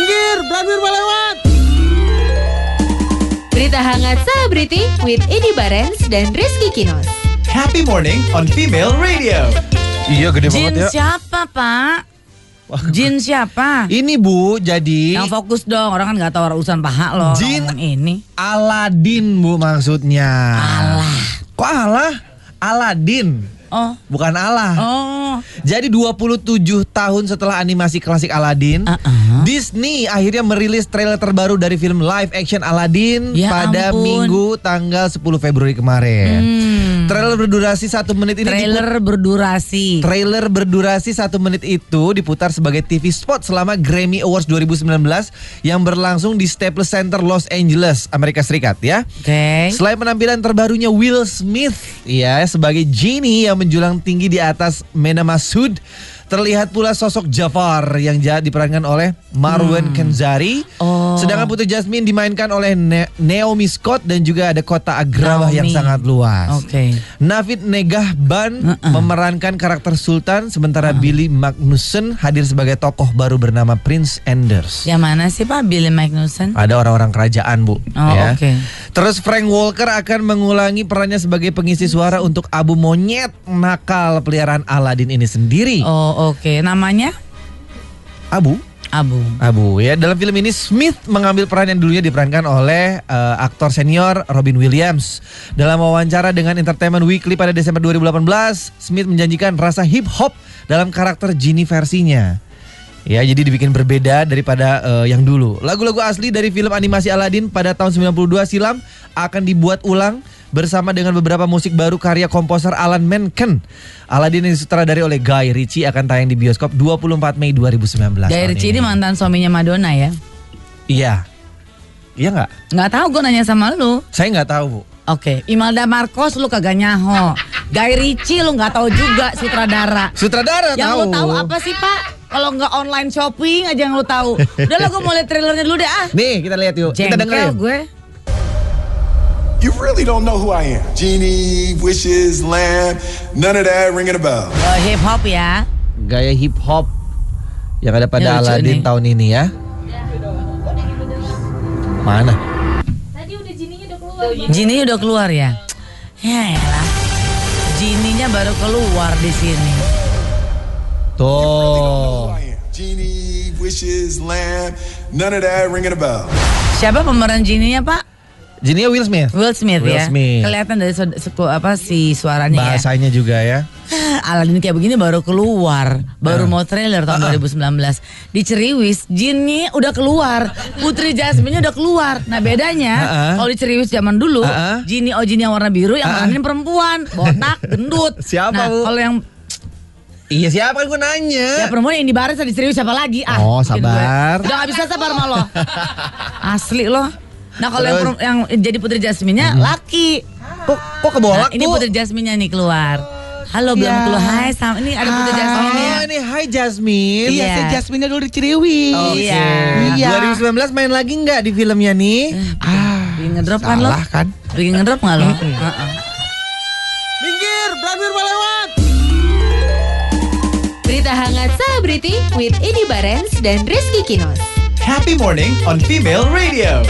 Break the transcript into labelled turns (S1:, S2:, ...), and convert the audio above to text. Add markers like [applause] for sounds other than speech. S1: Radwin Balewat.
S2: Berita hangat selebriti with Edi Barens dan Rizky Kinos.
S3: Happy Morning on Female Radio.
S4: Iya gede
S5: Jin
S4: banget ya.
S5: siapa pak? Jin siapa?
S4: Ini Bu, jadi
S5: Yang fokus dong, orang kan nggak tahu urusan paha loh.
S4: Jin- Ah.
S5: orang ini.
S4: Aladin Bu maksudnya.
S5: Allah.
S4: Kok Allah? Aladin,
S5: Oh,
S4: bukan Allah.
S5: oh.
S4: Jadi 27 tahun setelah animasi klasik Aladin,
S5: Uh-uh.
S4: Disney akhirnya merilis trailer terbaru dari film live action Aladin
S5: Ya
S4: pada
S5: ampun. Hmm.
S4: Minggu tanggal 10 Februari kemarin. Trailer berdurasi satu menit ini
S5: Trailer berdurasi.
S4: Trailer berdurasi satu menit itu diputar sebagai TV spot selama Grammy Awards 2019 yang berlangsung di Staples Center Los Angeles, Amerika Serikat ya.
S5: Oke.
S4: Selain penampilan terbarunya Will Smith ya sebagai Genie yang menjulang tinggi di atas Mena Masud, terlihat pula sosok Jafar yang jahat diperankan oleh
S5: Hmm.
S4: Marwan Kenzari.
S5: Oh.
S4: Sedangkan Putri Jasmine dimainkan oleh Ne- Naomi Scott dan juga ada kota Agrabah yang
S5: Naomi.
S4: sangat luas.
S5: Oke.
S4: Navid Negah Ban memerankan karakter Sultan, sementara Billy Magnussen hadir sebagai tokoh baru bernama Prince Anders.
S5: Yang mana sih pak Billy Magnussen?
S4: Ada orang-orang kerajaan, Bu. Ya.
S5: Oh, oke.
S4: Terus Frank Walker akan mengulangi perannya sebagai pengisi suara untuk Abu Monyet nakal peliharaan Aladin ini sendiri.
S5: Oh oke, namanya
S4: Abu?
S5: Abu.
S4: Abu ya. Dalam film ini Smith mengambil peran yang dulunya diperankan oleh eh, aktor senior Robin Williams. Dalam wawancara dengan Entertainment Weekly pada Desember 2018, Smith menjanjikan rasa hip hop dalam karakter Ginny versinya. Ya, jadi dibikin berbeda daripada eh, yang dulu. Lagu-lagu asli dari film animasi Aladdin pada tahun 92 silam akan dibuat ulang bersama dengan beberapa musik baru karya komposer Alan Menken. Aladdin yang disutradari oleh Guy Ritchie akan tayang di bioskop 24 Mei 2019. tahun
S5: Dari Ciri
S4: ini.
S5: mantan suaminya Madonna ya.
S4: Iya. Iya nggak?
S5: Nggak tahu gue nanya sama lu.
S4: Saya nggak tahu bu.
S5: Oke, Imelda Marcos lu kagak nyaho. Guy Ritchie lu nggak tahu juga sutradara.
S4: Sutradara
S5: Yang
S4: tahu.
S5: lu tahu apa sih Pak? Kalau nggak online shopping aja yang lu tahu. Udah lah gue mau lihat trailernya dulu deh ah.
S4: Nih kita lihat yuk. kita
S5: Jengkel
S4: dengerin.
S5: gue.
S6: You really don't know who I am. Genie, wishes, lamb, none of that ringing a bell.
S5: Oh, hip hop ya.
S4: Gaya hip hop yang ada
S5: Ini
S4: pada
S5: lucu
S4: Aladin
S5: nih.
S4: tahun ini ya. Mana?
S5: Jinny udah keluar ya. Ya elah. Jinny-nya baru keluar di sini.
S4: Tuh.
S6: I am. Genie, wishes, lamb, none of that ringing a bell.
S5: Siapa pemeran Jinny-nya Pak?
S4: Jadinya Will Smith.
S5: Will Smith
S4: Will
S5: ya.
S4: Smith.
S5: Kelihatan dari sod- suku- apa si suaranya ya.
S4: Bahasanya juga ya.
S5: [sighs] Aladin kayak begini baru keluar,
S4: Ah.
S5: baru mau trailer tahun 2019. Di Ceriwis, Jinny udah keluar, Putri Jasmine udah keluar. Nah bedanya,
S4: Heeh.
S5: kalau di Ceriwis zaman dulu,
S4: Heeh.
S5: Jinny oh Jinny yang warna biru, yang
S4: Heeh.
S5: meranin perempuan, botak, gendut.
S4: Ah, [laughs] Siapa,
S5: Nah
S4: Bu?
S5: kalau yang
S4: Iya siapa gue
S5: ya
S4: nanya?
S5: perempuan yang di baris di Ceriwis siapa lagi? Ah,
S4: Oh,
S5: bikin gue.
S4: sabar.
S5: Udah gak bisa sabar sama
S4: [laughs]
S5: lo. Asli lo. Nah kalau yang,
S4: Terus?
S5: perem- yang jadi Putri Jasmine-nya laki.
S4: Kok kok
S5: Nah,
S4: kebolak
S5: ini
S4: Oh, Bu?
S5: Putri Jasmine-nya nih keluar. Halo belum
S4: Ya.
S5: keluar. Hai, Sam. Ini ada Putri Jasmine ya.
S4: Oh ini Hai Jasmine.
S5: Iya.
S1: Iya, saya Jasmine dulu di Ciriwi.
S5: Oke. Iya. Eh,
S1: Iya.
S4: 2019 main lagi nggak di filmnya nih?
S5: Bikin ngedrop kan lo?
S1: Salah kan?
S5: Bikin ngedrop nggak lo? Heeh.
S1: Minggir, Radwin Balewat.
S2: Berita hangat selebriti with Edi Barens dan Rizky Kinos.
S3: Happy Morning on Female Radio.